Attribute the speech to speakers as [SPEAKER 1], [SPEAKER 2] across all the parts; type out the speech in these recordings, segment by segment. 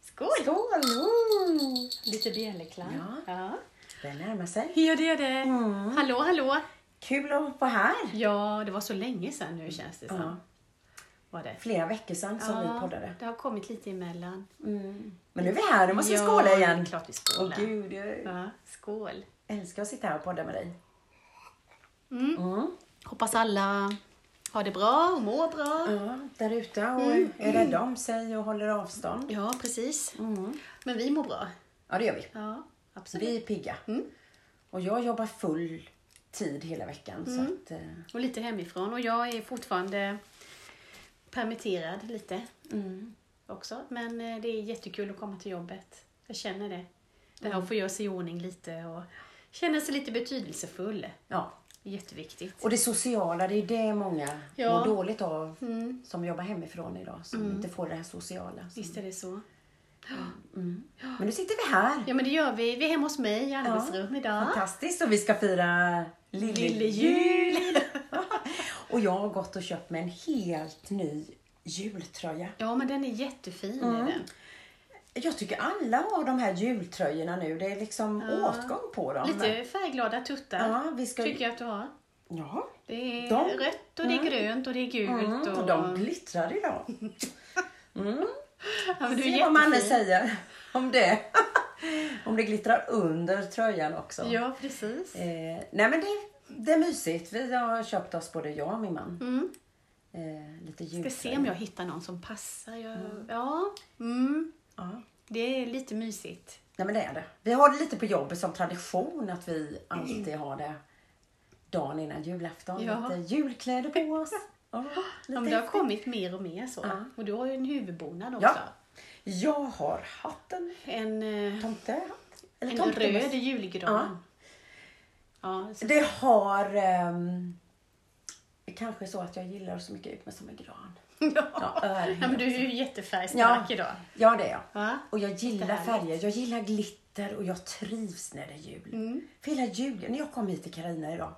[SPEAKER 1] Skål!
[SPEAKER 2] Skål! Oh.
[SPEAKER 1] Lite bjällerklang.
[SPEAKER 2] Ja.
[SPEAKER 1] Ja.
[SPEAKER 2] Det närmar sig.
[SPEAKER 1] ja, det är det.
[SPEAKER 2] Mm.
[SPEAKER 1] Hallå, hallå!
[SPEAKER 2] Kul att vara här.
[SPEAKER 1] Ja, det var så länge sedan nu känns det som.
[SPEAKER 2] Ja.
[SPEAKER 1] Var det?
[SPEAKER 2] Flera veckor sedan som
[SPEAKER 1] Ja,
[SPEAKER 2] vi poddade.
[SPEAKER 1] Det har kommit lite emellan.
[SPEAKER 2] Men nu är vi här, nu måste vi
[SPEAKER 1] Ja,
[SPEAKER 2] skåla
[SPEAKER 1] det
[SPEAKER 2] igen.
[SPEAKER 1] är klart vi
[SPEAKER 2] Åh
[SPEAKER 1] skålar.
[SPEAKER 2] gud, jag
[SPEAKER 1] ja, skål!
[SPEAKER 2] älskar att sitta här och podda med dig.
[SPEAKER 1] Mm.
[SPEAKER 2] Mm.
[SPEAKER 1] Hoppas alla har det bra och mår bra.
[SPEAKER 2] Ja, där ute och är rädda om sig och håller avstånd.
[SPEAKER 1] Ja, precis.
[SPEAKER 2] Mm.
[SPEAKER 1] Men vi mår bra.
[SPEAKER 2] Ja, det gör vi.
[SPEAKER 1] Ja,
[SPEAKER 2] Vi
[SPEAKER 1] absolut.
[SPEAKER 2] är pigga.
[SPEAKER 1] Mm.
[SPEAKER 2] Och jag jobbar full tid hela veckan. Så att, eh,
[SPEAKER 1] Och lite hemifrån. Och jag är fortfarande permitterad lite.
[SPEAKER 2] Mm.
[SPEAKER 1] också. Men eh, det är jättekul att komma till jobbet. Jag känner det. Det
[SPEAKER 2] Mm.
[SPEAKER 1] här att få göra sig i ordning lite och känna sig lite betydelsefull.
[SPEAKER 2] ja.
[SPEAKER 1] Jätteviktigt.
[SPEAKER 2] Och det sociala, det är det många
[SPEAKER 1] Ja.
[SPEAKER 2] mår dåligt av
[SPEAKER 1] Mm.
[SPEAKER 2] som jobbar hemifrån idag. Som inte får det här sociala.
[SPEAKER 1] Visst är det så.
[SPEAKER 2] Men nu sitter vi här.
[SPEAKER 1] Ja men det gör vi. Vi är hemma hos mig i arbetsrum idag.
[SPEAKER 2] Fantastiskt och vi ska fira lille,
[SPEAKER 1] Lille
[SPEAKER 2] jul.
[SPEAKER 1] jul!
[SPEAKER 2] och jag har gått och köpt mig en helt ny jultröja.
[SPEAKER 1] Ja men den är jättefin.
[SPEAKER 2] Mm.
[SPEAKER 1] Är den.
[SPEAKER 2] Jag tycker alla har de här jultröjorna nu. Det är liksom åtgång på dem.
[SPEAKER 1] Lite färgglada tuttar
[SPEAKER 2] Ja, vi ska...
[SPEAKER 1] tycker jag att du har.
[SPEAKER 2] Ja.
[SPEAKER 1] Det är
[SPEAKER 2] De-
[SPEAKER 1] rött och det är grönt och det är
[SPEAKER 2] Mm,
[SPEAKER 1] gult.
[SPEAKER 2] och
[SPEAKER 1] Och...
[SPEAKER 2] de glittrar idag.
[SPEAKER 1] Ja, men du är
[SPEAKER 2] Se vad mannen
[SPEAKER 1] jättefin.
[SPEAKER 2] säger om det. om det glittrar under tröjan också.
[SPEAKER 1] Ja precis.
[SPEAKER 2] Eh, nej men det, det är mysigt. Vi har köpt oss, både jag och min man,
[SPEAKER 1] Mm.
[SPEAKER 2] eh, lite
[SPEAKER 1] Ska
[SPEAKER 2] jultröjor.
[SPEAKER 1] se om jag hittar någon som passar. Jag... Ja. Mm.
[SPEAKER 2] Ja.
[SPEAKER 1] Det är lite mysigt.
[SPEAKER 2] Nej men det är det. Vi har det lite på jobbet som tradition att vi alltid har det dagen innan julafton.
[SPEAKER 1] Ja.
[SPEAKER 2] Lite julkläder på oss. Ja,
[SPEAKER 1] Ja,
[SPEAKER 2] lite
[SPEAKER 1] men det har
[SPEAKER 2] häftigt.
[SPEAKER 1] kommit mer och mer så.
[SPEAKER 2] Ja.
[SPEAKER 1] Och du har ju en huvudbonad också.
[SPEAKER 2] Ja. Jag har hatten.
[SPEAKER 1] En, eh,
[SPEAKER 2] Tomtehatt. Eller
[SPEAKER 1] en
[SPEAKER 2] tomtemössa.
[SPEAKER 1] röd liksom. julgran. Ja. så-
[SPEAKER 2] Det har... ehm, kanske så att jag gillar så mycket ut mig som en gran.
[SPEAKER 1] ja.
[SPEAKER 2] Ja, öring.
[SPEAKER 1] men du är ju jättefärgstark
[SPEAKER 2] Ja.
[SPEAKER 1] idag.
[SPEAKER 2] ja det är jag.
[SPEAKER 1] Va?
[SPEAKER 2] Och jag gillar
[SPEAKER 1] Jättehärligt.
[SPEAKER 2] färger. Jag gillar glitter och jag trivs när det är jul.
[SPEAKER 1] Mm.
[SPEAKER 2] För hela julen, när jag kom hit till Karina idag,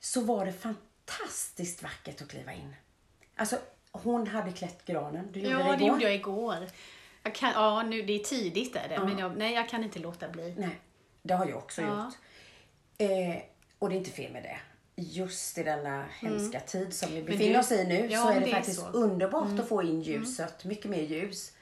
[SPEAKER 2] så var det fantastiskt vackert att kliva in. Alltså, hon hade klätt granen. Du gjorde
[SPEAKER 1] Ja,
[SPEAKER 2] det igår.
[SPEAKER 1] det gjorde jag igår. Jag kan, ja, nu, det är tidigt är det, men jag, nej, jag kan inte låta bli.
[SPEAKER 2] Nej, det har jag också
[SPEAKER 1] Ja.
[SPEAKER 2] gjort. Eh, och det är inte fel med det. Just i denna hemska tid som vi befinner
[SPEAKER 1] du-
[SPEAKER 2] oss i nu
[SPEAKER 1] ja,
[SPEAKER 2] så är
[SPEAKER 1] men
[SPEAKER 2] det,
[SPEAKER 1] Mm. det är
[SPEAKER 2] faktiskt
[SPEAKER 1] så. Mm.
[SPEAKER 2] underbart att få in ljuset, mycket mer ljus.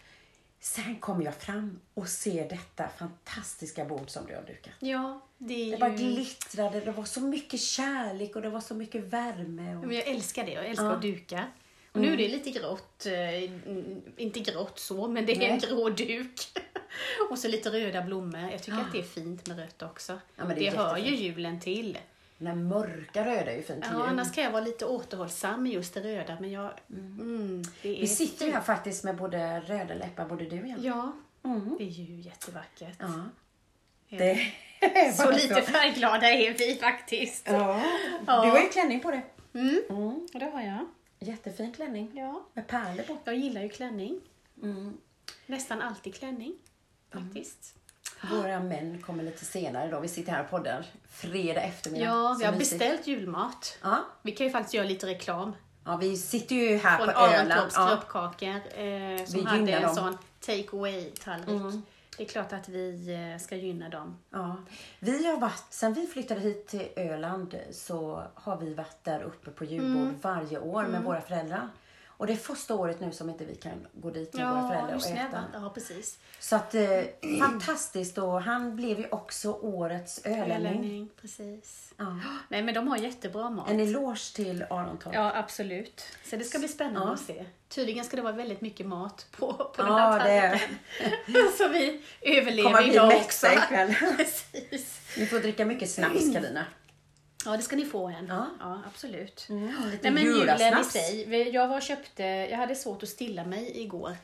[SPEAKER 2] Sen kommer jag fram och ser detta fantastiska bord som du har dukat.
[SPEAKER 1] Ja, det
[SPEAKER 2] Det
[SPEAKER 1] är
[SPEAKER 2] bara
[SPEAKER 1] ju...
[SPEAKER 2] glittrade, det var så mycket kärlek och det var så mycket värme. Och...
[SPEAKER 1] Men jag älskar det, jag älskar att duka. Och
[SPEAKER 2] Mm.
[SPEAKER 1] nu är det lite grått, eh, mm, inte grått så, men det är en
[SPEAKER 2] Nej.
[SPEAKER 1] grå duk. Och så lite röda blommor. Jag tycker att det är fint med rött också.
[SPEAKER 2] Ah. Ja, men
[SPEAKER 1] det
[SPEAKER 2] det är
[SPEAKER 1] hör ju
[SPEAKER 2] jättefint.
[SPEAKER 1] julen till.
[SPEAKER 2] Den här mörka röda är ju fin till
[SPEAKER 1] Ja,
[SPEAKER 2] jul.
[SPEAKER 1] annars kan jag vara lite återhållsam med just det röda, men jag... Mm, det är
[SPEAKER 2] Vi sitter ju här faktiskt med både röda läppar, både du och jag.
[SPEAKER 1] Ja,
[SPEAKER 2] Mm.
[SPEAKER 1] det är ju jättevackert.
[SPEAKER 2] Ja.
[SPEAKER 1] Ja.
[SPEAKER 2] Det är
[SPEAKER 1] Så
[SPEAKER 2] bara
[SPEAKER 1] lite färgglada är vi faktiskt.
[SPEAKER 2] Ja.
[SPEAKER 1] Ja.
[SPEAKER 2] Du har ju klänning på det.
[SPEAKER 1] Mm,
[SPEAKER 2] Mm.
[SPEAKER 1] och det har jag.
[SPEAKER 2] Jättefin klänning
[SPEAKER 1] Ja.
[SPEAKER 2] med pärlor på.
[SPEAKER 1] Jag gillar ju klänning.
[SPEAKER 2] Mm.
[SPEAKER 1] Nästan alltid klänning, faktiskt.
[SPEAKER 2] Våra män kommer lite senare då. Vi sitter här och poddar fredag eftermiddag.
[SPEAKER 1] Ja, vi
[SPEAKER 2] Så
[SPEAKER 1] har
[SPEAKER 2] mysigt.
[SPEAKER 1] beställt julmat.
[SPEAKER 2] Ja.
[SPEAKER 1] Vi kan ju faktiskt göra lite reklam.
[SPEAKER 2] ja, vi sitter ju här
[SPEAKER 1] Från
[SPEAKER 2] på
[SPEAKER 1] Arentorps
[SPEAKER 2] Öland. Ja.
[SPEAKER 1] kroppkakor eh, som
[SPEAKER 2] Vi
[SPEAKER 1] hade
[SPEAKER 2] gynnar dem.
[SPEAKER 1] en
[SPEAKER 2] Mm.
[SPEAKER 1] sån take away-tallrik. Det är klart att vi eh, ska gynna dem.
[SPEAKER 2] Ja. Vi har varit, sen vi flyttade hit till Öland så har vi varit där uppe på julbord
[SPEAKER 1] Mm.
[SPEAKER 2] varje år med våra föräldrar. Och det är första året nu som inte vi kan gå dit med våra föräldrar och
[SPEAKER 1] just det.
[SPEAKER 2] äta.
[SPEAKER 1] Ja, precis.
[SPEAKER 2] Så att, eh, fantastiskt och han blev ju också årets ölänning.
[SPEAKER 1] Ölänning, precis.
[SPEAKER 2] Ja.
[SPEAKER 1] Nej, men de har jättebra mat.
[SPEAKER 2] En eloge till Arontorp.
[SPEAKER 1] Ja, absolut. Så det ska bli spännande
[SPEAKER 2] Ja.
[SPEAKER 1] att se. Tydligen ska det vara väldigt mycket mat på, på den
[SPEAKER 2] Ja,
[SPEAKER 1] här
[SPEAKER 2] det är-
[SPEAKER 1] tallriken. Så vi
[SPEAKER 2] Kommer
[SPEAKER 1] överlever
[SPEAKER 2] bli
[SPEAKER 1] idag också.
[SPEAKER 2] mätta ikväll.
[SPEAKER 1] precis.
[SPEAKER 2] Ni får dricka mycket snaps Carina.
[SPEAKER 1] Ja, det ska ni få en. Ja,
[SPEAKER 2] Ja. Mm.
[SPEAKER 1] absolut.
[SPEAKER 2] lite
[SPEAKER 1] Nej, men julen i
[SPEAKER 2] julasnaps.
[SPEAKER 1] sig. Vi- Jag, var och köpte, jag hade svårt att stilla mig igår.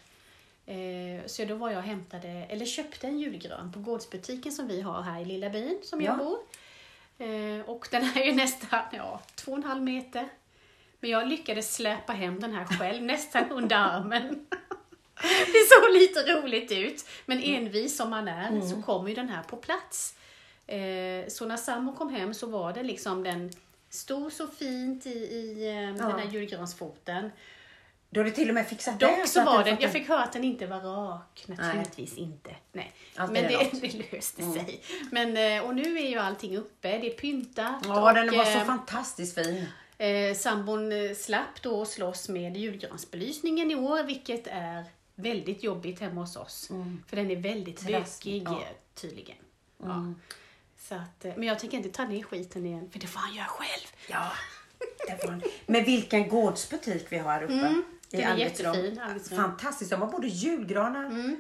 [SPEAKER 1] Eh, så då var jag och hämtade, eller köpte en julgran på gårdsbutiken som vi har här i lilla byn som jag
[SPEAKER 2] Ja.
[SPEAKER 1] bor. Eh, och den är ju nästan ja, två och en halv meter. Men jag lyckades släpa hem den här själv, nästan under armen. Det såg lite roligt ut, men
[SPEAKER 2] Mm.
[SPEAKER 1] envis som man är så kom ju den här på plats. Eh, så när Sammo kom hem så var det liksom den stod så fint i, i eh, den här julgransfoten.
[SPEAKER 2] Då har du till och med fixat
[SPEAKER 1] Dock
[SPEAKER 2] så
[SPEAKER 1] så
[SPEAKER 2] att
[SPEAKER 1] var
[SPEAKER 2] du
[SPEAKER 1] den,
[SPEAKER 2] fått
[SPEAKER 1] jag fick höra att den inte var rak. Naturligtvis inte. Nej.
[SPEAKER 2] Alltid
[SPEAKER 1] Men
[SPEAKER 2] är Mm.
[SPEAKER 1] det,
[SPEAKER 2] något.
[SPEAKER 1] det löste sig. Men, eh, och nu är ju allting uppe. Det är pyntat.
[SPEAKER 2] Ja,
[SPEAKER 1] och,
[SPEAKER 2] den var så
[SPEAKER 1] eh,
[SPEAKER 2] fantastiskt fin.
[SPEAKER 1] Eh, sambon eh, slapp då slåss med julgransbelysningen i år, vilket är väldigt jobbigt hemma hos oss. För den är väldigt bökig
[SPEAKER 2] Trasslig, Mm. ja. Mm.
[SPEAKER 1] eh, tydligen. Ja. Så att, eh, men jag tänker inte ta ner skiten igen, för det får han göra själv.
[SPEAKER 2] Ja, det var en... Men vilken gårdsbutik vi har här uppe.
[SPEAKER 1] Mm, den är
[SPEAKER 2] Algotsson.
[SPEAKER 1] jättefin, Algotsson.
[SPEAKER 2] Fantastiskt. De har både julgranar,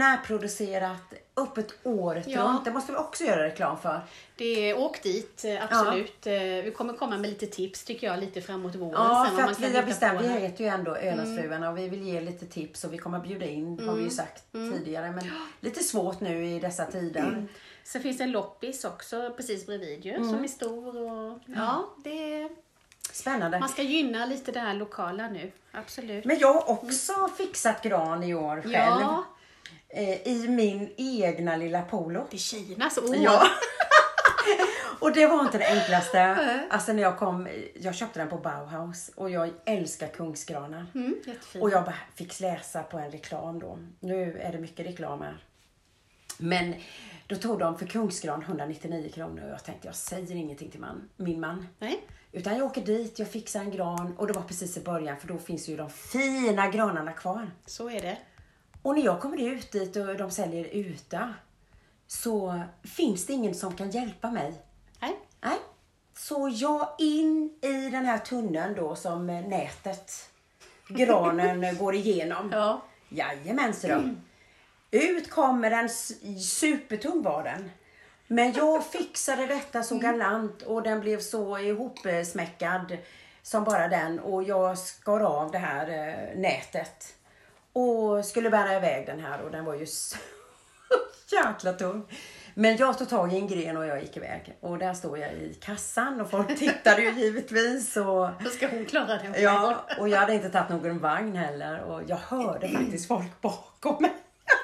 [SPEAKER 2] närproducerat, öppet året
[SPEAKER 1] Ja.
[SPEAKER 2] runt. Det måste vi också göra reklam för.
[SPEAKER 1] Det är, åk dit, eh, absolut. Eh, Vi kommer komma med lite tips tycker jag lite framåt våren.
[SPEAKER 2] Ja,
[SPEAKER 1] sen, vad
[SPEAKER 2] för
[SPEAKER 1] man
[SPEAKER 2] att
[SPEAKER 1] kan
[SPEAKER 2] vi har
[SPEAKER 1] hitta
[SPEAKER 2] bestämt.
[SPEAKER 1] på
[SPEAKER 2] Vi
[SPEAKER 1] här. Mm.
[SPEAKER 2] heter ju ändå Ölandsfruarna och vi vill ge lite tips och vi kommer att bjuda in, har vi ju sagt
[SPEAKER 1] Mm.
[SPEAKER 2] tidigare. Men lite svårt nu i dessa tider.
[SPEAKER 1] Sen finns det en loppis också precis bredvid ju,
[SPEAKER 2] Mm.
[SPEAKER 1] som är stor. Och, ja, det är,
[SPEAKER 2] Spännande.
[SPEAKER 1] man ska gynna lite det här lokala nu, absolut.
[SPEAKER 2] Men jag har också fixat gran i år själv.
[SPEAKER 1] Ja.
[SPEAKER 2] Eh, I min egna lilla polo.
[SPEAKER 1] Det är tjejernas år.
[SPEAKER 2] Ja. och det var inte det enklaste. Alltså när jag kom, jag köpte den på Bauhaus och jag älskar kungsgranar.
[SPEAKER 1] Mm, jättefint.
[SPEAKER 2] Och jag bara fick läsa på en reklam då. Nu är det mycket reklam här. Men då tog de för kungsgran 199 kronor och jag tänkte jag säger ingenting till man, min man.
[SPEAKER 1] Nej.
[SPEAKER 2] Utan jag åker dit, jag fixar en gran och det var precis i början för då finns ju de fina granarna kvar.
[SPEAKER 1] Så är det.
[SPEAKER 2] Och när jag kommer ut dit och de säljer uta så finns det ingen som kan hjälpa mig.
[SPEAKER 1] Nej.
[SPEAKER 2] Nej. Så jag in i den här tunneln då som eh, nätet, granen eh, går igenom.
[SPEAKER 1] Ja.
[SPEAKER 2] Jajamän, ser de. Ut kommer den, s- supertung var den. Men jag fixade detta så galant och den blev så ihopsmäckad som bara den och jag skar av det här eh, nätet. Och skulle bära iväg den här och den var ju så jäkla tung. Men jag tog tag i en gren och jag gick iväg. Och där stod jag i kassan och folk tittade ju givetvis. Och...
[SPEAKER 1] Då ska hon klara det.
[SPEAKER 2] Ja, och jag hade inte tagit någon vagn heller och jag hörde faktiskt folk bakom mig.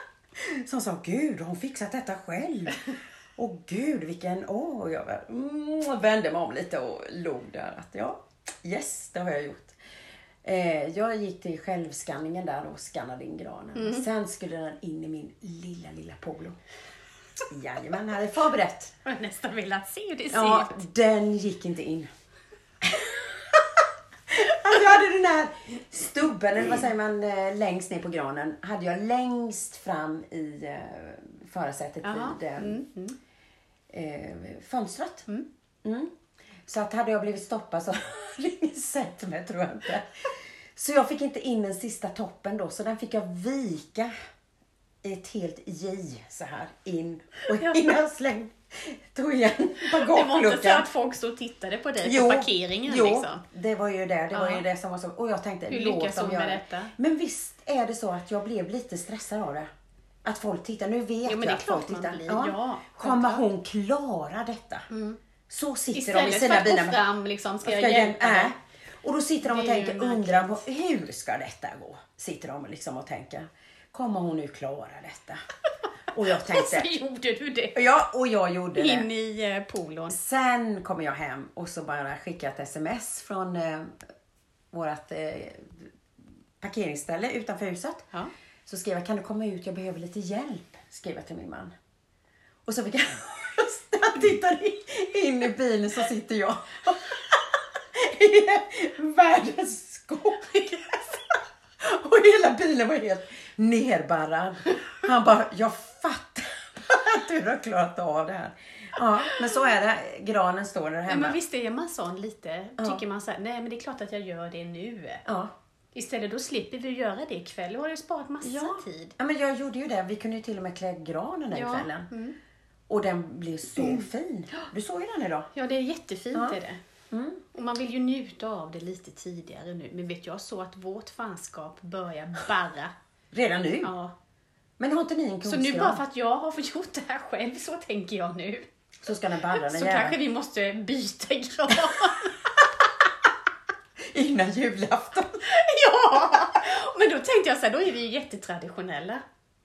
[SPEAKER 2] Som sa, gud, har hon fixat detta själv? Och gud, vilken, åh, och jag bara, mm, och vände mig om lite och log där att ja, yes, det har jag gjort. Eh, jag gick till självskanningen där och skannade in granen. Sen skulle den in i min lilla, lilla polo. Jajamän, här är förberett.
[SPEAKER 1] Jag har nästan velat se hur det ser
[SPEAKER 2] Ja,
[SPEAKER 1] ut.
[SPEAKER 2] den gick inte in. alltså jag hade den här stubben, eller vad säger man, eh, längst ner på granen. Hade jag längst fram i eh, förarsätet
[SPEAKER 1] Jaha,
[SPEAKER 2] vid eh, eh, fönstret. Mm. Så att hade jag blivit stoppad så hade ingen sett mig tror jag inte. Så jag fick inte in den sista toppen då, så den fick jag vika i ett helt J så här in och innan släng tog igen
[SPEAKER 1] Det var inte så
[SPEAKER 2] bagageluckan.
[SPEAKER 1] att folk stod och tittade på dig på parkeringen
[SPEAKER 2] jo,
[SPEAKER 1] liksom.
[SPEAKER 2] det var ju det. Det var
[SPEAKER 1] Ja.
[SPEAKER 2] ju det som var så. Och jag tänkte,
[SPEAKER 1] Hur
[SPEAKER 2] låt
[SPEAKER 1] lyckas
[SPEAKER 2] dem
[SPEAKER 1] hon med
[SPEAKER 2] göra.
[SPEAKER 1] detta?
[SPEAKER 2] Men visst är det så att jag blev lite stressad av det. Att folk tittar. Nu vet
[SPEAKER 1] men det är
[SPEAKER 2] jag att folk
[SPEAKER 1] klart man
[SPEAKER 2] tittar.
[SPEAKER 1] blir. Ja, Mm.
[SPEAKER 2] Kommer hon klara detta? Så sitter de i
[SPEAKER 1] Istället för
[SPEAKER 2] sina
[SPEAKER 1] att
[SPEAKER 2] bilar.
[SPEAKER 1] gå
[SPEAKER 2] med-
[SPEAKER 1] fram liksom, ska
[SPEAKER 2] Ska
[SPEAKER 1] jag hjälpa
[SPEAKER 2] nej.
[SPEAKER 1] dig?
[SPEAKER 2] Och då sitter de och
[SPEAKER 1] Det är ju
[SPEAKER 2] tänker,
[SPEAKER 1] märkligt.
[SPEAKER 2] undrar på, hur ska detta gå? Sitter de liksom och tänker. Kommer hon nu klara detta? Och jag
[SPEAKER 1] Och så
[SPEAKER 2] tänkte,
[SPEAKER 1] gjorde du det.
[SPEAKER 2] ja, och jag gjorde det.
[SPEAKER 1] In i eh, polon.
[SPEAKER 2] Sen kommer jag hem och så bara skickar jag ett sms från eh, vårt eh, parkeringsställe utanför huset.
[SPEAKER 1] Ja.
[SPEAKER 2] Så skrev jag, kan du komma ut? Jag behöver lite hjälp. Skrev jag till min man. Och så fick jag, han tittar in- in i bilen så sitter jag i världens skopigaste. Och hela bilen var helt nerbarrad. Han bara, jag fattar att du har klarat av det här. Ja, men så är det. Granen står där
[SPEAKER 1] Nej,
[SPEAKER 2] hemma.
[SPEAKER 1] men visst är man sån lite? Tycker man så här, nej men det är klart att jag gör det nu.
[SPEAKER 2] Ja.
[SPEAKER 1] Istället då slipper vi göra det ikväll. Då har du sparat massa tid.
[SPEAKER 2] ja, men jag gjorde ju det. Vi kunde ju till och med klä granen den
[SPEAKER 1] Ja, mm.
[SPEAKER 2] kvällen. Och den blev så fin. Du såg ju den idag.
[SPEAKER 1] Ja, det är jättefint är det. Och man vill ju njuta av det lite tidigare nu. Men vet jag så att vårt fanskap börjar barra.
[SPEAKER 2] Redan nu.
[SPEAKER 1] Ja.
[SPEAKER 2] Men har inte ni en
[SPEAKER 1] Så
[SPEAKER 2] kungsgran
[SPEAKER 1] nu bara för att jag har fått gjort det här själv, så tänker jag nu.
[SPEAKER 2] så ska den barra den
[SPEAKER 1] Så kanske
[SPEAKER 2] jäveln
[SPEAKER 1] vi måste byta gran.
[SPEAKER 2] innan julafton.
[SPEAKER 1] ja! Men då tänkte jag så här, då är vi ju jättetraditionella.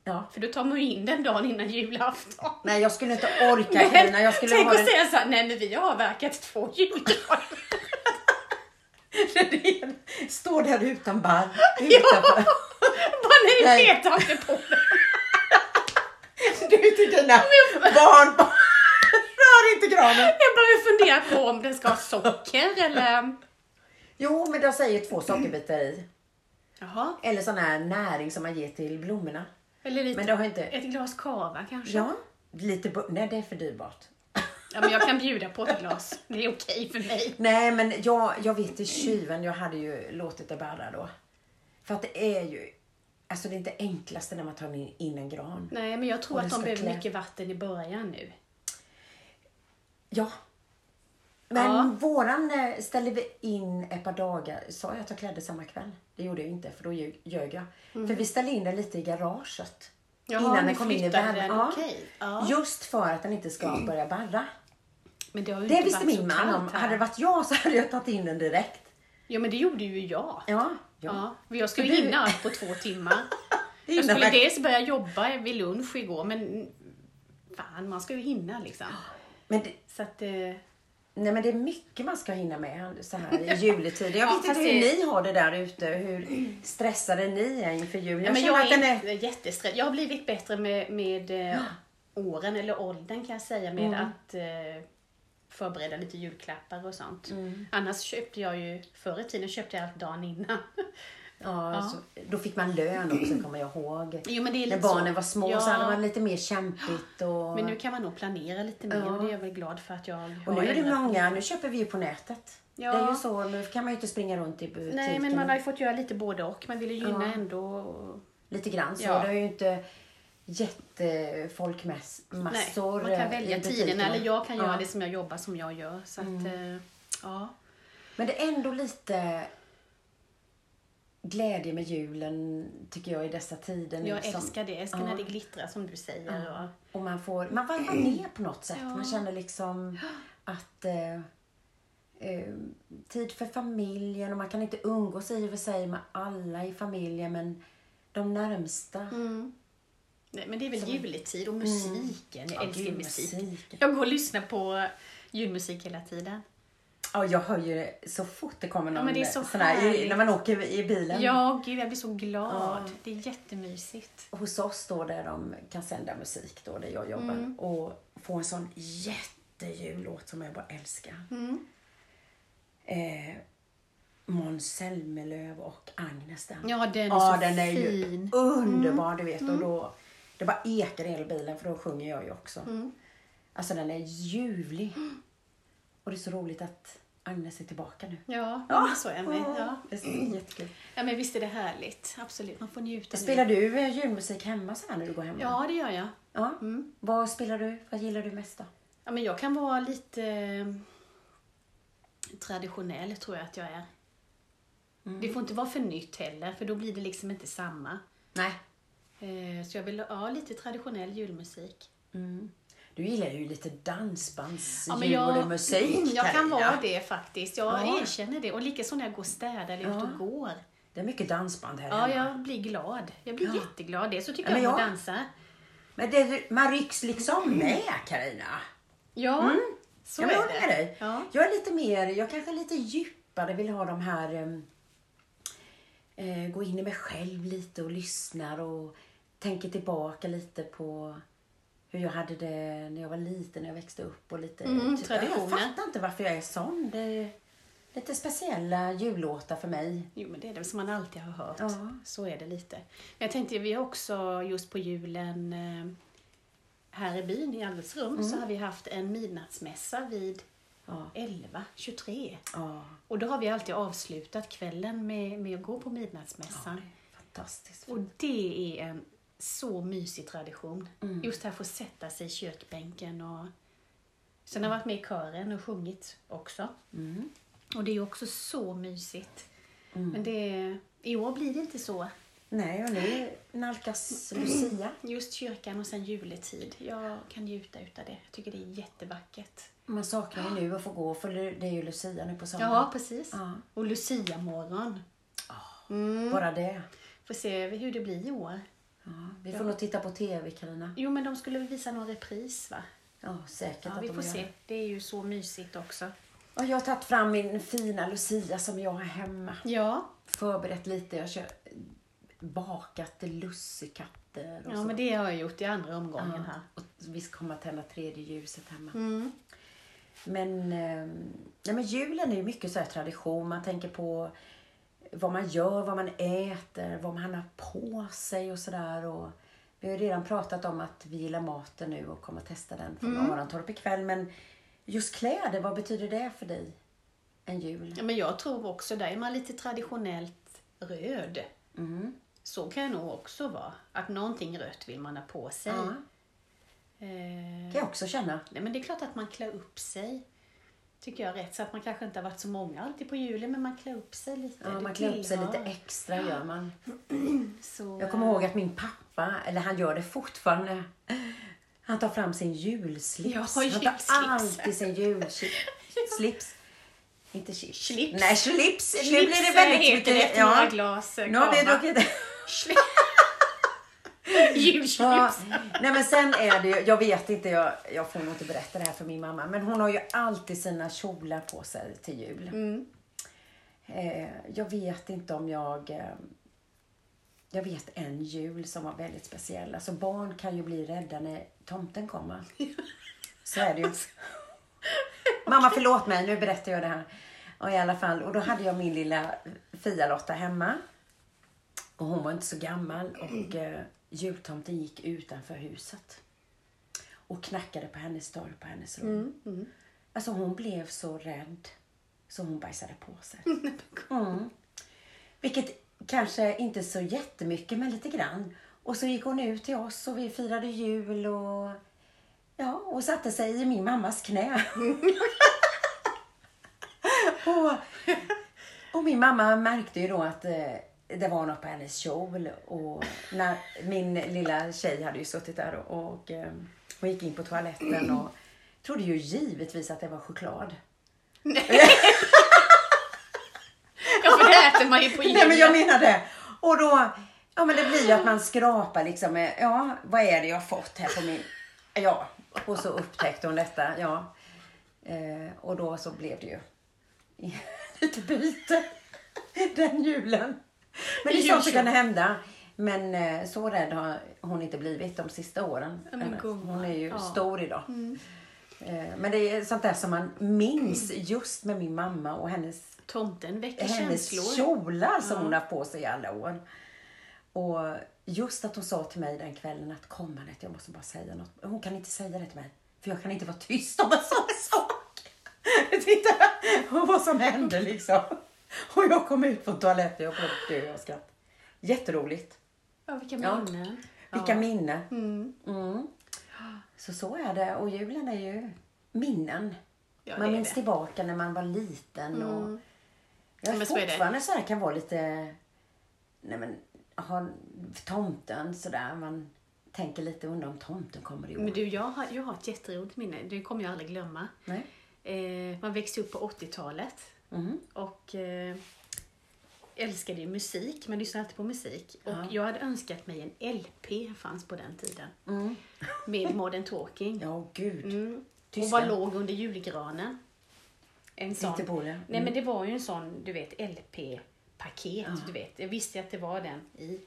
[SPEAKER 2] Ja.
[SPEAKER 1] För då tar man ju in den dagen innan julafton.
[SPEAKER 2] Nej, jag skulle inte orka
[SPEAKER 1] Men
[SPEAKER 2] Carina. Jag skulle
[SPEAKER 1] tänk
[SPEAKER 2] ha
[SPEAKER 1] att
[SPEAKER 2] den...
[SPEAKER 1] säga så här, nej men vi har avverkat två julgranar.
[SPEAKER 2] Fredén står där utan barr.
[SPEAKER 1] Ja,
[SPEAKER 2] Utanför.
[SPEAKER 1] bara nej,
[SPEAKER 2] Nej.
[SPEAKER 1] jag petar inte på den.
[SPEAKER 2] Du till dina barn. barn. Rör inte kranen.
[SPEAKER 1] Jag börjar fundera på om den ska ha socker eller...
[SPEAKER 2] Jo, men de säger två sockerbitar i.
[SPEAKER 1] Jaha.
[SPEAKER 2] Eller sån här näring som man ger till blommorna.
[SPEAKER 1] Eller lite,
[SPEAKER 2] Men det har inte...
[SPEAKER 1] ett glas cava kanske.
[SPEAKER 2] Ja, lite... bu- Nej, det är för dyrbart.
[SPEAKER 1] Ja, men jag kan bjuda på ett glas. Det är okej för mig.
[SPEAKER 2] Nej, men jag, jag vet i tjuven, jag hade ju låtit det bära då. För att det är ju, alltså det är inte enklaste när man tar in, in en gran.
[SPEAKER 1] Nej, men jag tror
[SPEAKER 2] Och det
[SPEAKER 1] att de
[SPEAKER 2] ska
[SPEAKER 1] behöver
[SPEAKER 2] klä.
[SPEAKER 1] mycket vatten i början nu.
[SPEAKER 2] Ja. Men
[SPEAKER 1] Ja.
[SPEAKER 2] våran eh, ställde vi in ett par dagar. Sa jag att jag klädde samma kväll? Det gjorde jag inte, för då ljög, ljög jag. För vi ställde in den lite i garaget.
[SPEAKER 1] Mm. Jaha, ni flyttade den, okej. Ja.
[SPEAKER 2] Just för att den inte ska börja barra.
[SPEAKER 1] Men det har ju
[SPEAKER 2] Det
[SPEAKER 1] inte
[SPEAKER 2] visste
[SPEAKER 1] varit så
[SPEAKER 2] min man om.
[SPEAKER 1] kallt här.
[SPEAKER 2] Hade det varit jag så hade jag tagit in den direkt.
[SPEAKER 1] Ja, men det gjorde ju jag.
[SPEAKER 2] Ja. ja.
[SPEAKER 1] Ja, men jag skulle
[SPEAKER 2] För du-
[SPEAKER 1] hinna allt på två timmar. Jag
[SPEAKER 2] Hinna
[SPEAKER 1] skulle
[SPEAKER 2] verk-
[SPEAKER 1] dels börja jobba vid lunch igår, men fan, man ska ju hinna liksom.
[SPEAKER 2] Men det,
[SPEAKER 1] Så att, eh,
[SPEAKER 2] Nej men det är mycket man ska hinna med så här i juletid. Jag
[SPEAKER 1] Ja,
[SPEAKER 2] vet inte
[SPEAKER 1] fast
[SPEAKER 2] hur
[SPEAKER 1] det-
[SPEAKER 2] ni har det där ute. Hur stressade ni är inför jul.
[SPEAKER 1] ja,
[SPEAKER 2] Jag
[SPEAKER 1] men
[SPEAKER 2] känner
[SPEAKER 1] jag
[SPEAKER 2] att den
[SPEAKER 1] är
[SPEAKER 2] är...
[SPEAKER 1] inte jättestressad. Jag har blivit bättre med, med eh, åren, eller åldern kan jag säga, med
[SPEAKER 2] Mm.
[SPEAKER 1] att eh, förbereda lite julklappar och sånt.
[SPEAKER 2] Mm.
[SPEAKER 1] Annars köpte jag ju, förr i tiden köpte jag allt dagen innan.
[SPEAKER 2] Ja, Så, då fick man lön också kommer jag ihåg.
[SPEAKER 1] Jo, men det
[SPEAKER 2] När
[SPEAKER 1] är lite
[SPEAKER 2] barnen
[SPEAKER 1] så.
[SPEAKER 2] var små
[SPEAKER 1] Ja.
[SPEAKER 2] så hade man lite mer kämpigt. Och,
[SPEAKER 1] Men nu kan man nog planera lite mer och det är jag väl glad för att jag har
[SPEAKER 2] och nu är det
[SPEAKER 1] ändrat på.
[SPEAKER 2] många, nu köper vi ju på nätet.
[SPEAKER 1] Ja.
[SPEAKER 2] Det är ju så, nu kan man ju inte springa runt i butiken.
[SPEAKER 1] Nej, men man har ju fått göra lite både och. Man ville gynna
[SPEAKER 2] Ja.
[SPEAKER 1] ändå
[SPEAKER 2] Lite grann så.
[SPEAKER 1] Ja.
[SPEAKER 2] Det är ju inte jättefolkmassor.
[SPEAKER 1] Nej, man kan
[SPEAKER 2] eh,
[SPEAKER 1] välja
[SPEAKER 2] i
[SPEAKER 1] tiden
[SPEAKER 2] butikerna.
[SPEAKER 1] eller jag kan göra
[SPEAKER 2] Ja. Mm.
[SPEAKER 1] det som jag jobbar som jag gör. Så att, eh, ja.
[SPEAKER 2] Men det är ändå lite glädje med julen tycker jag i dessa tider. nu
[SPEAKER 1] Jag
[SPEAKER 2] som-
[SPEAKER 1] älskar det. Jag älskar
[SPEAKER 2] Ja.
[SPEAKER 1] när det glittrar som du säger. Och,
[SPEAKER 2] Och man får, man varvar ner på något sätt.
[SPEAKER 1] Ja.
[SPEAKER 2] Man känner liksom att eh, eh, tid för familjen och man kan inte umgås i och för sig med alla i familjen men de närmsta.
[SPEAKER 1] Mm. nej, men det är väl juletid och musiken. Jag
[SPEAKER 2] Ja,
[SPEAKER 1] älskar
[SPEAKER 2] gud,
[SPEAKER 1] Mm. musik.
[SPEAKER 2] musiken.
[SPEAKER 1] Jag går och lyssnar på julmusik hela tiden.
[SPEAKER 2] Ja, jag hör ju det så fort det kommer någon
[SPEAKER 1] men det är så
[SPEAKER 2] sån här, i,
[SPEAKER 1] härligt.
[SPEAKER 2] när man åker i bilen.
[SPEAKER 1] Ja, gud jag blir så glad. Det är jättemysigt.
[SPEAKER 2] hos oss då där de kan sända musik då där jag jobbar
[SPEAKER 1] Mm.
[SPEAKER 2] och få en sån jättejullåt som jag bara älskar.
[SPEAKER 1] Mm.
[SPEAKER 2] Eh, Måns Zelmerlöw och Agnes den.
[SPEAKER 1] Ja, den är så
[SPEAKER 2] den är
[SPEAKER 1] fin. Mm.
[SPEAKER 2] ju underbar du vet och då det bara ekar i hela bilen för då sjunger jag ju också.
[SPEAKER 1] Mm.
[SPEAKER 2] Alltså den är ljuvlig. Och det är så roligt att Agnes är tillbaka nu.
[SPEAKER 1] Ja, men så är jag med. Ja.
[SPEAKER 2] Det är jättekul.
[SPEAKER 1] ja, men visst är det härligt. Absolut, man får njuta. nu.
[SPEAKER 2] Spelar du eh, julmusik hemma så här när du går hemma?
[SPEAKER 1] Ja, Mm. det gör jag.
[SPEAKER 2] Ja. Vad spelar du? Vad gillar du mest då?
[SPEAKER 1] Ja, men jag kan vara lite eh, traditionell tror jag att jag är. Det får inte vara för nytt heller, för då blir det liksom inte samma.
[SPEAKER 2] Nej.
[SPEAKER 1] Eh, Så jag vill ha lite traditionell julmusik.
[SPEAKER 2] Du gillar ju lite dansbands
[SPEAKER 1] Ja,
[SPEAKER 2] julmusik.
[SPEAKER 1] Jag kan
[SPEAKER 2] Carina.
[SPEAKER 1] vara det faktiskt. Jag
[SPEAKER 2] Ja.
[SPEAKER 1] erkänner det. Och likaså när jag går och städar eller ut och går.
[SPEAKER 2] Det är mycket dansband här
[SPEAKER 1] Ja,
[SPEAKER 2] hemma.
[SPEAKER 1] jag blir glad. Jag blir jätteglad. Det så tycker
[SPEAKER 2] Ja, men
[SPEAKER 1] jag om att
[SPEAKER 2] jag-
[SPEAKER 1] dansa.
[SPEAKER 2] Men det, man rycks liksom med Karina.
[SPEAKER 1] Ja, så
[SPEAKER 2] Mm. Jag
[SPEAKER 1] är
[SPEAKER 2] håller
[SPEAKER 1] det.
[SPEAKER 2] med dig.
[SPEAKER 1] Ja.
[SPEAKER 2] Jag är lite mer, jag kanske är lite djupare vill ha de här em, eh, gå in i mig själv lite och lyssnar och tänker tillbaka lite på hur jag hade det när jag var liten, när jag växte upp och lite
[SPEAKER 1] Mm,
[SPEAKER 2] typ,
[SPEAKER 1] traditioner.
[SPEAKER 2] Jag fattar inte varför jag är sån. Det är lite speciella jullåtar för mig.
[SPEAKER 1] Jo, men det är det som man alltid har hört.
[SPEAKER 2] Ja.
[SPEAKER 1] Så är det lite. Men jag tänkte, vi har också just på julen eh, här i byn, i Alldeles rum, så har vi haft en midnattsmässa vid
[SPEAKER 2] Mm. Ja.
[SPEAKER 1] 11, 23.
[SPEAKER 2] Ja.
[SPEAKER 1] Och då har vi alltid avslutat kvällen med, med att gå på midnattsmässan.
[SPEAKER 2] Fantastiskt.
[SPEAKER 1] Och det är en så mysig tradition. Just det här att få sätta sig i kökbänken och Sen har jag varit med i kören och sjungit också. Mm. Och det är ju också så mysigt. Men det, i år blir det inte så.
[SPEAKER 2] Nej, och nu nalkas
[SPEAKER 1] Mm.
[SPEAKER 2] Lucia.
[SPEAKER 1] Just kyrkan och sen juletid. Jag kan njuta utav det. Jag tycker det är jättevackert.
[SPEAKER 2] Man saknar ju nu att få gå för det är ju Lucia nu på sommaren.
[SPEAKER 1] Ja, precis.
[SPEAKER 2] Ja.
[SPEAKER 1] Och Lucia-morgon. Mm.
[SPEAKER 2] Bara det.
[SPEAKER 1] Får se hur det blir i år.
[SPEAKER 2] Ja, vi får nog titta på TV Carina.
[SPEAKER 1] Jo, men de skulle väl visa någon repris va?
[SPEAKER 2] Ja, säkert
[SPEAKER 1] Ja,
[SPEAKER 2] att
[SPEAKER 1] vi
[SPEAKER 2] de
[SPEAKER 1] får
[SPEAKER 2] gör
[SPEAKER 1] se.
[SPEAKER 2] det.
[SPEAKER 1] Det är ju så mysigt också.
[SPEAKER 2] Och jag har tagit fram min fina Lucia som jag har hemma.
[SPEAKER 1] Ja,
[SPEAKER 2] Förberett lite. Jag kör bakat lussekatter och
[SPEAKER 1] ja
[SPEAKER 2] så.
[SPEAKER 1] men det har jag gjort i andra omgången här.
[SPEAKER 2] Och vi ska komma att tända tredje ljuset hemma.
[SPEAKER 1] Mm.
[SPEAKER 2] Men, ehm, nej men julen är ju mycket så här tradition. Man tänker på vad man gör, vad man äter, vad man har på sig och sådär. Och Vi har ju redan pratat om att vi gillar maten nu och kommer att testa den från Arantorp ikväll. Men just kläder, vad betyder det för dig? En jul?
[SPEAKER 1] Ja, men jag tror också, där är man lite traditionellt röd.
[SPEAKER 2] Mm.
[SPEAKER 1] Så kan jag nog också vara. Att någonting rött vill man ha på sig.
[SPEAKER 2] Ja,
[SPEAKER 1] Eh,
[SPEAKER 2] kan jag också känna.
[SPEAKER 1] nej, men det är klart att man klär upp sig. Tycker jag är rätt. Så att man kanske inte har varit så många alltid på julen, men man klär upp sig lite.
[SPEAKER 2] Ja,
[SPEAKER 1] Det
[SPEAKER 2] man klär upp sig
[SPEAKER 1] tillhör.
[SPEAKER 2] lite extra gör man.
[SPEAKER 1] Så,
[SPEAKER 2] Jag kommer ihåg att min pappa, eller han gör det fortfarande, han tar fram sin julslips.
[SPEAKER 1] Ja,
[SPEAKER 2] han tar
[SPEAKER 1] julslips.
[SPEAKER 2] alltid sin julslips. Inte chi-
[SPEAKER 1] Slips.
[SPEAKER 2] Nej, slips.
[SPEAKER 1] Slips
[SPEAKER 2] nu blir det väldigt
[SPEAKER 1] heter det
[SPEAKER 2] mycket.
[SPEAKER 1] efter några glas eh,
[SPEAKER 2] nu har vi
[SPEAKER 1] kava.
[SPEAKER 2] druckit.
[SPEAKER 1] Julslips.
[SPEAKER 2] Ja. Nej men sen är det ju, jag vet inte, jag, jag får nog inte berätta det här för min mamma, men hon har ju alltid sina kjolar på sig till jul. Eh, jag vet inte om jag... Eh, jag vet en jul som var väldigt speciell. Alltså barn kan ju bli rädda när tomten kommer. Så är det ju. Mamma förlåt mig, nu berättar jag det här. Och i alla fall, och då hade jag min lilla Fia-Lotta hemma. Och hon var inte så gammal och eh, jultomten gick utanför huset. Och knackade på hennes dörr på hennes rum. Alltså hon blev så rädd så hon bajsade på sig. Mm. Vilket kanske inte så jättemycket men lite grann. Och så gick hon ut till oss och vi firade jul och ja, och satte sig i min mammas knä. och, och min mamma märkte ju då att eh, det var något på hennes kjol och när, min lilla tjej hade ju suttit där och, och eh, hon gick in på toaletten och trodde ju givetvis att det var choklad.
[SPEAKER 1] Ja, för det äter man ju på julen.
[SPEAKER 2] Nej men jag menar det. Och då, ja men det blir ju att man skrapar liksom, eh, ja vad är det jag har fått här på min, ja. Och så upptäckte hon detta, ja. Eh, och då så blev det ju lite byte den julen. Men det är sånt som kan hända. Men eh, så rädd har hon inte blivit de sista åren.
[SPEAKER 1] Ja, men
[SPEAKER 2] Eh,
[SPEAKER 1] gumman,
[SPEAKER 2] hon är ju
[SPEAKER 1] ja. Mm.
[SPEAKER 2] stor idag. Eh, Men det är sånt där som man minns just med min mamma och hennes
[SPEAKER 1] Tomten väcker
[SPEAKER 2] hennes
[SPEAKER 1] känslor.
[SPEAKER 2] kjolar som hon har på sig i alla år. Och just att hon sa till mig den kvällen att kom Anette, jag måste bara säga något. Hon kan inte säga det till mig, för jag kan inte vara tyst om en sån sak. Titta och vad som hände liksom. Och jag kom ut från toaletten, jag höll på att dö av skratt. Jätteroligt.
[SPEAKER 1] Ja, vilka
[SPEAKER 2] Ja.
[SPEAKER 1] minnen.
[SPEAKER 2] Vilka minnen.
[SPEAKER 1] Mm.
[SPEAKER 2] Mm. Så så är det. Och julen är ju minnen.
[SPEAKER 1] Ja,
[SPEAKER 2] man
[SPEAKER 1] det är
[SPEAKER 2] minns
[SPEAKER 1] det.
[SPEAKER 2] tillbaka när man var liten. Och jag är
[SPEAKER 1] Men så är det.
[SPEAKER 2] fortfarande så här, kan vara lite... Nej men, har tomten sådär. Man tänker lite, undrar om tomten kommer i år.
[SPEAKER 1] Men du, jag har, jag har ett jätteroligt minne. Det kommer jag aldrig glömma.
[SPEAKER 2] Nej?
[SPEAKER 1] Eh, man växte upp på 80-talet
[SPEAKER 2] Mm.
[SPEAKER 1] och eh, älskade ju musik. Man lyssnade alltid på musik. Och jag hade önskat mig en LP, fanns på den tiden,
[SPEAKER 2] Mm.
[SPEAKER 1] med Modern Talking.
[SPEAKER 2] Ja, gud.
[SPEAKER 1] Mm. Och
[SPEAKER 2] Tyska.
[SPEAKER 1] var låg under julgranen. En sån.
[SPEAKER 2] Inte på Mm. det.
[SPEAKER 1] Nej men det var ju en sån, du vet, LP-paket.
[SPEAKER 2] Ah.
[SPEAKER 1] Du vet. Jag visste ju att det var den i.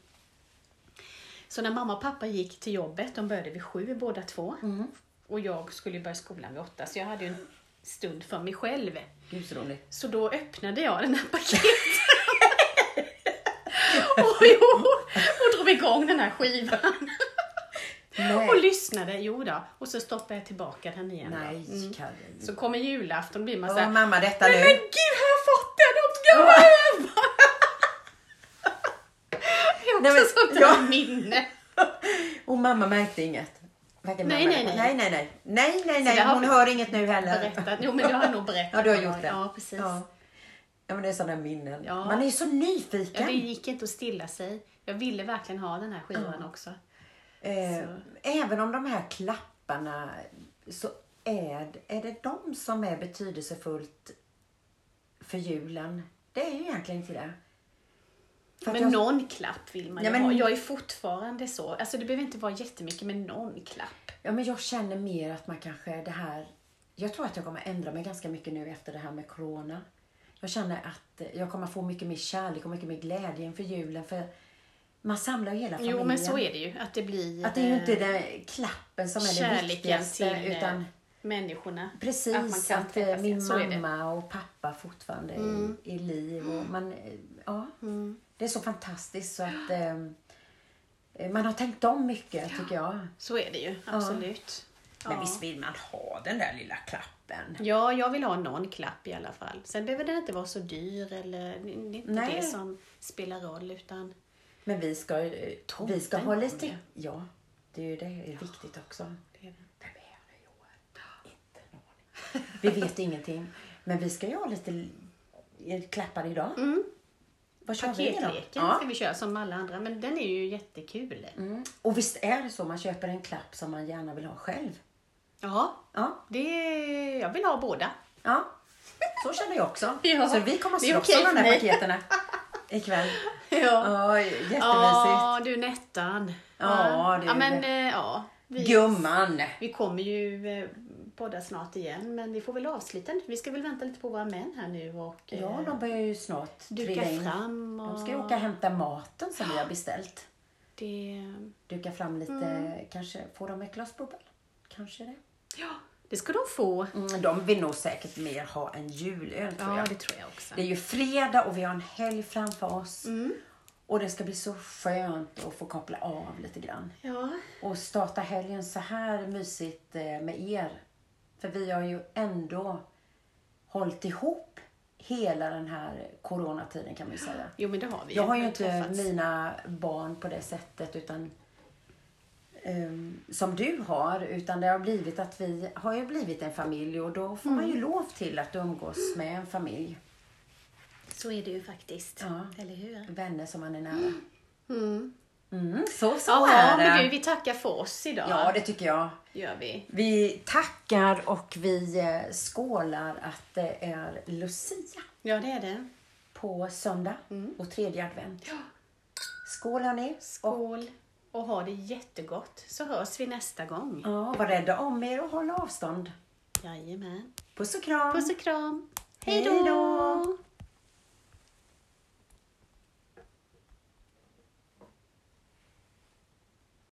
[SPEAKER 1] Så när mamma och pappa gick till jobbet, de började vid sju båda två.
[SPEAKER 2] Mm.
[SPEAKER 1] Och jag skulle ju börja skolan vid åtta, så jag hade ju en stund för mig själv.
[SPEAKER 2] Gud så roligt.
[SPEAKER 1] Så då öppnade jag den här paketet. och, jo, och drog igång den här skivan.
[SPEAKER 2] Nej,
[SPEAKER 1] Och lyssnade, jo då. Och så stoppade jag tillbaka den igen. då.
[SPEAKER 2] Nej
[SPEAKER 1] Mm.
[SPEAKER 2] Karin.
[SPEAKER 1] Så kommer julafton och blir man
[SPEAKER 2] Vad
[SPEAKER 1] såhär,
[SPEAKER 2] var mamma detta
[SPEAKER 1] nej men
[SPEAKER 2] nu?
[SPEAKER 1] gud har jag fått den och ska jag vara hemma? Det är
[SPEAKER 2] Nej,
[SPEAKER 1] också
[SPEAKER 2] men-
[SPEAKER 1] sånt där
[SPEAKER 2] ja.
[SPEAKER 1] minne.
[SPEAKER 2] Och mamma märkte inget. Varken
[SPEAKER 1] Nej,
[SPEAKER 2] mamma
[SPEAKER 1] nej,
[SPEAKER 2] eller-
[SPEAKER 1] nej.
[SPEAKER 2] nej, nej. Nej, nej,
[SPEAKER 1] Så
[SPEAKER 2] nej.
[SPEAKER 1] det har
[SPEAKER 2] Hon
[SPEAKER 1] vi-
[SPEAKER 2] hör inget nu heller.
[SPEAKER 1] Berättat. Jo men det har jag nog berättat.
[SPEAKER 2] Ja, du har gjort det.
[SPEAKER 1] Ja precis.
[SPEAKER 2] Ja.
[SPEAKER 1] Ja.
[SPEAKER 2] Ja, men det är sådana minnen.
[SPEAKER 1] Ja.
[SPEAKER 2] Man är ju så nyfiken.
[SPEAKER 1] det gick inte att stilla sig. Jag ville verkligen ha den här skivan också.
[SPEAKER 2] Eh, även om de här klapparna så är, är det de som är betydelsefullt för julen. Det är ju egentligen inte det. För att
[SPEAKER 1] Men
[SPEAKER 2] jag-
[SPEAKER 1] någon klapp vill man
[SPEAKER 2] Ja,
[SPEAKER 1] ju
[SPEAKER 2] men-
[SPEAKER 1] ha. Jag är fortfarande så. Alltså det behöver inte vara jättemycket men någon klapp.
[SPEAKER 2] Ja, men jag känner mer att man kanske det här Jag tror att jag kommer ändra mig ganska mycket nu efter det här med corona. Jag känner att eh, jag kommer få mycket mer kärlek och mycket mer glädje inför julen. För man samlar ju hela familjen.
[SPEAKER 1] Jo, men så är det ju. Att det blir
[SPEAKER 2] Att det är ju inte
[SPEAKER 1] eh,
[SPEAKER 2] den klappen som är det
[SPEAKER 1] kärleken
[SPEAKER 2] viktigaste.
[SPEAKER 1] till eh,
[SPEAKER 2] utan
[SPEAKER 1] människorna.
[SPEAKER 2] Precis,
[SPEAKER 1] att man kan
[SPEAKER 2] att, eh,
[SPEAKER 1] träffas igen.
[SPEAKER 2] min
[SPEAKER 1] Så är det. Mm.
[SPEAKER 2] mamma och pappa fortfarande är i liv. Och man, eh, ja, Det är så fantastiskt så att eh, man har tänkt om mycket tycker jag.
[SPEAKER 1] Så är det ju, absolut.
[SPEAKER 2] Men
[SPEAKER 1] Ja.
[SPEAKER 2] visst vill man ha den där lilla klappen?
[SPEAKER 1] Ja, jag vill ha någon klapp i alla fall. Sen behöver den inte vara så dyr eller det är inte
[SPEAKER 2] Nej.
[SPEAKER 1] det som spelar roll utan
[SPEAKER 2] Men vi ska, eh, vi ska
[SPEAKER 1] Tomten
[SPEAKER 2] ha
[SPEAKER 1] kom
[SPEAKER 2] lite...
[SPEAKER 1] ju.
[SPEAKER 2] Ja, det är ju det. Det är viktigt också.
[SPEAKER 1] det är det.
[SPEAKER 2] Vem är det i år? Inte en aning. Vi vet ingenting. Men vi ska ju ha lite l- klappar idag. Vad kör vi idag?
[SPEAKER 1] Mm. Paketleken
[SPEAKER 2] Ja.
[SPEAKER 1] ska vi köra som alla andra, men den är ju jättekul.
[SPEAKER 2] Mm. Och visst är det så, man köper en klapp som man gärna vill ha själv.
[SPEAKER 1] Ja,
[SPEAKER 2] Ja,
[SPEAKER 1] det, jag vill ha båda.
[SPEAKER 2] ja. så känner jag också.
[SPEAKER 1] Ja,
[SPEAKER 2] Så vi kommer att
[SPEAKER 1] det är
[SPEAKER 2] slåss
[SPEAKER 1] okej
[SPEAKER 2] om de
[SPEAKER 1] för
[SPEAKER 2] här
[SPEAKER 1] mig.
[SPEAKER 2] paketen ikväll.
[SPEAKER 1] Ja,
[SPEAKER 2] Ja, jättemysigt.
[SPEAKER 1] ja du Nettan.
[SPEAKER 2] Ja, det är
[SPEAKER 1] ja, men,
[SPEAKER 2] det.
[SPEAKER 1] eh, ja, vi,
[SPEAKER 2] Gumman!
[SPEAKER 1] vi kommer ju eh, podda snart igen, men vi får väl avsluta nu. Vi ska väl vänta lite på våra män här nu och eh,
[SPEAKER 2] Ja, de börjar ju snart
[SPEAKER 1] duka
[SPEAKER 2] trilla in.
[SPEAKER 1] fram. Och
[SPEAKER 2] De ska ju åka och hämta maten som vi har beställt.
[SPEAKER 1] det,
[SPEAKER 2] Duka fram lite, kanske, får de ett glas bubbel? Kanske det.
[SPEAKER 1] ja, det ska de få.
[SPEAKER 2] Mm, de vill nog säkert mer ha en julöl tror
[SPEAKER 1] Ja,
[SPEAKER 2] jag.
[SPEAKER 1] det tror jag också.
[SPEAKER 2] Det är ju fredag och vi har en helg framför oss. Och det ska bli så skönt att få koppla av lite grann.
[SPEAKER 1] Ja,
[SPEAKER 2] Och starta helgen så här mysigt eh, med er. För vi har ju ändå hållit ihop hela den här coronatiden kan man ju säga.
[SPEAKER 1] jo men det har vi
[SPEAKER 2] Jag har ju
[SPEAKER 1] Vi
[SPEAKER 2] inte
[SPEAKER 1] träffats.
[SPEAKER 2] mina barn på det sättet utan ehm, som du har. Utan det har blivit att vi har ju blivit en familj och då får
[SPEAKER 1] Mm.
[SPEAKER 2] man ju lov till att umgås med en familj.
[SPEAKER 1] Så är det ju faktiskt.
[SPEAKER 2] Ja.
[SPEAKER 1] Eller hur?
[SPEAKER 2] Vänner som man är nära.
[SPEAKER 1] Mm.
[SPEAKER 2] Mm, så så
[SPEAKER 1] Ja,
[SPEAKER 2] är
[SPEAKER 1] men du,
[SPEAKER 2] det.
[SPEAKER 1] vi tackar för oss idag.
[SPEAKER 2] Ja, det tycker jag.
[SPEAKER 1] gör vi.
[SPEAKER 2] Vi tackar och vi eh, skålar att det är Lucia
[SPEAKER 1] Ja, det är det.
[SPEAKER 2] på söndag och tredje advent.
[SPEAKER 1] Mm. Ja.
[SPEAKER 2] Skål hörni! Och,
[SPEAKER 1] Skål och ha det jättegott så hörs vi nästa gång.
[SPEAKER 2] ja, var rädda om er och håll avstånd.
[SPEAKER 1] Jajamän.
[SPEAKER 2] Puss och kram!
[SPEAKER 1] Puss och kram.
[SPEAKER 2] Hej
[SPEAKER 1] Hej då!
[SPEAKER 2] då!